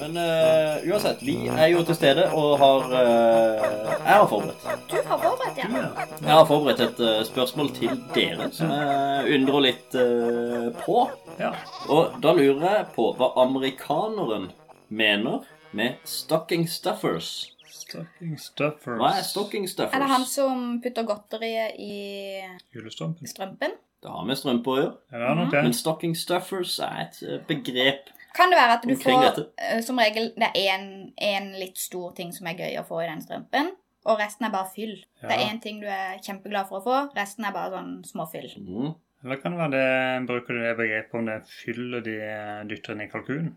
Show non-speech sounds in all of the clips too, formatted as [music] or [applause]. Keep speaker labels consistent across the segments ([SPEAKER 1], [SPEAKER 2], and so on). [SPEAKER 1] Men eh, uansett, vi er jo til stede og har eh, Jeg har forberedt.
[SPEAKER 2] Du har forberedt deg.
[SPEAKER 1] Jeg har forberedt et eh, spørsmål til dere som jeg undrer litt eh, på.
[SPEAKER 3] Ja.
[SPEAKER 1] Og da lurer jeg på hva amerikaneren mener med 'stocking stuffers'.
[SPEAKER 3] Stocking stuffers.
[SPEAKER 1] Hva er 'stocking stuffers'?
[SPEAKER 2] Er det han som putter godteriet i
[SPEAKER 3] Julestampen.
[SPEAKER 2] strømpen?
[SPEAKER 1] Det har med strømpe å gjøre.
[SPEAKER 3] Ja, det er nok det.
[SPEAKER 1] Men 'stocking stuffers' er et eh, begrep.
[SPEAKER 2] Kan det være at du
[SPEAKER 1] Omkring
[SPEAKER 2] får
[SPEAKER 1] dette.
[SPEAKER 2] eh, Som regel det er én litt stor ting som er gøy å få i den strømpen, og resten er bare fyll.
[SPEAKER 3] Ja.
[SPEAKER 2] Det er én ting du er kjempeglad for å få, resten er bare sånn småfyll.
[SPEAKER 1] Mm.
[SPEAKER 3] Eller kan det være det bruker du det begrepet om det fyller de dytter inn i kalkunen?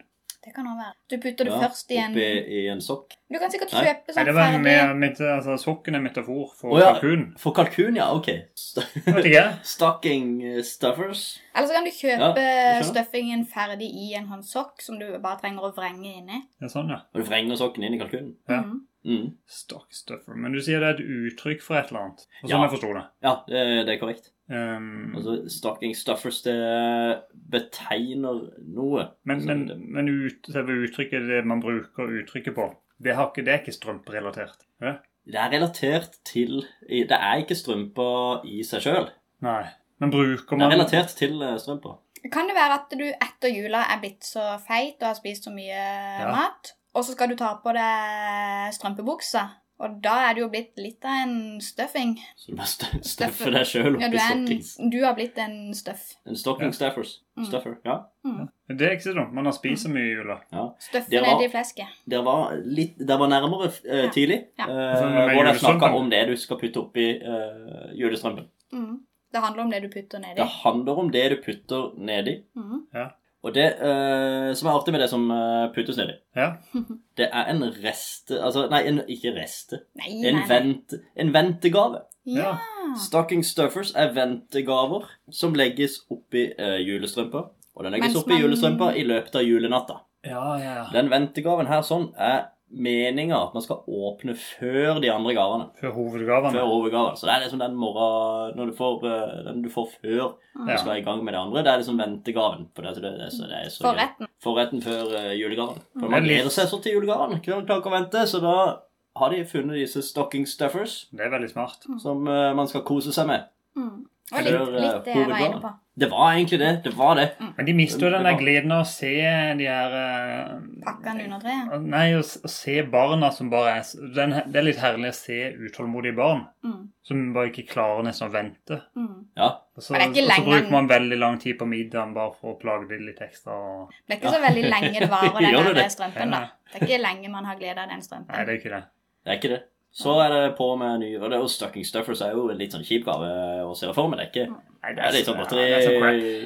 [SPEAKER 2] Det kan også være. Du putter det
[SPEAKER 1] Ja,
[SPEAKER 2] først i en
[SPEAKER 1] Oppi i en sokk.
[SPEAKER 2] Du kan sikkert
[SPEAKER 1] Nei.
[SPEAKER 2] kjøpe
[SPEAKER 3] Nei,
[SPEAKER 2] sånn
[SPEAKER 3] det var
[SPEAKER 2] ferdig
[SPEAKER 3] med, med, altså, sokken er metafor for
[SPEAKER 1] Å, ja.
[SPEAKER 3] kalkunen.
[SPEAKER 1] [laughs] For kalkun, ja. Ok. St-
[SPEAKER 3] Vet ikke.
[SPEAKER 1] Stocking eh, stuffers.
[SPEAKER 2] Eller så kan du kjøpe
[SPEAKER 1] Ja, jeg skjønner.
[SPEAKER 2] stuffingen ferdig i en sånn sokk som du bare trenger å vrenge inni.
[SPEAKER 3] Det er sånn, ja.
[SPEAKER 1] Og du vrenger sokken inn i kalkunen.
[SPEAKER 3] Ja.
[SPEAKER 2] Mhm.
[SPEAKER 1] Mm.
[SPEAKER 3] Stock stuffer. Men du sier det er et uttrykk for et eller annet. Og sånn
[SPEAKER 1] Ja.
[SPEAKER 3] jeg forsto det.
[SPEAKER 1] Ja, det, det er korrekt.
[SPEAKER 3] Um,
[SPEAKER 1] Altså, stocking stuffers, det betegner noe.
[SPEAKER 3] men
[SPEAKER 1] Altså,
[SPEAKER 3] men,
[SPEAKER 1] det-
[SPEAKER 3] men ut, selve uttrykket, det man bruker uttrykket på, det, har ikke, det er ikke strømperelatert. er det?
[SPEAKER 1] Det er relatert til i- Det er ikke strømpa i seg sjøl.
[SPEAKER 3] Nei. Men bruker
[SPEAKER 1] Det er
[SPEAKER 3] man
[SPEAKER 1] relatert til eh, strømpa.
[SPEAKER 2] Kan det være at du etter jula er blitt så feit og har spist så mye mat, og så skal du ta på deg strømpebuksa, og da er du jo blitt litt av en stuffing.
[SPEAKER 1] Så du må st- støffe deg sjøl
[SPEAKER 2] Ja,
[SPEAKER 1] oppi
[SPEAKER 2] du, er en,
[SPEAKER 1] stockings.
[SPEAKER 2] du har blitt en stuff.
[SPEAKER 1] En stocking
[SPEAKER 3] Ja.
[SPEAKER 1] stuffers.
[SPEAKER 2] Mm.
[SPEAKER 1] Stuffer, ja.
[SPEAKER 3] Det er ikke så dumt. Man har spist så mye i jula.
[SPEAKER 2] Støffe
[SPEAKER 1] Det var-
[SPEAKER 2] ned i flesket.
[SPEAKER 1] Det var, litt, det var nærmere eh,
[SPEAKER 2] Ja.
[SPEAKER 1] tidlig.
[SPEAKER 2] Ja.
[SPEAKER 1] Eh,
[SPEAKER 3] Med
[SPEAKER 1] hvor de snakka
[SPEAKER 3] julestrømpen.
[SPEAKER 1] om det du skal putte oppi eh, julestrømpen.
[SPEAKER 2] Mm. Det handler om det du putter nedi.
[SPEAKER 1] Det handler om det du putter nedi.
[SPEAKER 2] Mm.
[SPEAKER 1] Og det eh, som er artig med det som eh, puttes nedi,
[SPEAKER 3] Ja.
[SPEAKER 1] [laughs] det er en reste Altså, nei, en, ikke reste.
[SPEAKER 2] Nei,
[SPEAKER 1] En,
[SPEAKER 2] nei, nei.
[SPEAKER 1] vent, en ventegave.
[SPEAKER 2] Ja.
[SPEAKER 1] Stocking stuffers er ventegaver som legges oppi eh, julestrømpa. Og den legges
[SPEAKER 2] Mens
[SPEAKER 1] oppi
[SPEAKER 2] man-
[SPEAKER 1] julestrømpa i løpet av julenatta.
[SPEAKER 3] Ja, ja, ja.
[SPEAKER 1] Den ventegaven her sånn er meninga at man skal åpne før de andre gavene.
[SPEAKER 3] Før hovedgavene.
[SPEAKER 1] Før hovedgaven. Så det er liksom den morgen når du får, eh, den du får før
[SPEAKER 2] Mm.
[SPEAKER 1] du skal i gang med det andre. Det er liksom ventegaven. For det, er så- det, er så- det er så gøy.
[SPEAKER 2] Forretten.
[SPEAKER 1] Forretten før eh, julegaven. For man
[SPEAKER 3] Mm. Det er litt-
[SPEAKER 1] gleder seg sånn til julegaven. Ikke noe klart å vente, så da har de funnet disse stocking stuffers
[SPEAKER 3] Det er veldig smart.
[SPEAKER 1] som eh, man skal kose seg med.
[SPEAKER 2] Mm.
[SPEAKER 1] Før,
[SPEAKER 2] Og litt,
[SPEAKER 1] eh,
[SPEAKER 2] litt det jeg var inne
[SPEAKER 1] hovedgaven.
[SPEAKER 2] på.
[SPEAKER 1] Det var egentlig det. Det var det.
[SPEAKER 3] Men de mister jo den der
[SPEAKER 1] Det var-
[SPEAKER 3] gleden av å se de her eh,
[SPEAKER 2] Pakkene under treet.
[SPEAKER 3] Nei, å s- å se barna som bare er s- den, Det er litt herlig å se utålmodige barn
[SPEAKER 2] Mm.
[SPEAKER 3] som bare ikke klarer nesten å vente.
[SPEAKER 2] Mm.
[SPEAKER 1] Ja.
[SPEAKER 3] Og så,
[SPEAKER 2] Men det er
[SPEAKER 3] og
[SPEAKER 2] ikke
[SPEAKER 3] så
[SPEAKER 2] lenge-
[SPEAKER 3] bruker man veldig lang tid på middagen bare for å plage dem litt ekstra. og-
[SPEAKER 2] Det er ikke så veldig lenge
[SPEAKER 1] [laughs]
[SPEAKER 2] det varer,
[SPEAKER 1] Gjør
[SPEAKER 2] den
[SPEAKER 1] det
[SPEAKER 2] der
[SPEAKER 1] det?
[SPEAKER 2] strømpen. da. Det er ikke lenge man har glede av den strømpen.
[SPEAKER 3] Nei, det er ikke det.
[SPEAKER 1] Det er ikke det. Så er det på med nye Og det er jo Stucking Stuffers er jo en litt sånn kjip gave å se for meg. Det er ikke
[SPEAKER 3] Nei,
[SPEAKER 1] Det er litt sånn
[SPEAKER 3] så-
[SPEAKER 1] batteri
[SPEAKER 3] ja, det er så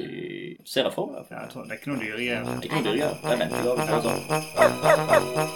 [SPEAKER 3] crap.
[SPEAKER 1] Ser jeg for meg.
[SPEAKER 3] Ja, jeg tror, det er ikke noe dyregreier.
[SPEAKER 1] Det er ikke noe dyrere. Det er ventegave. Det er jo sånn.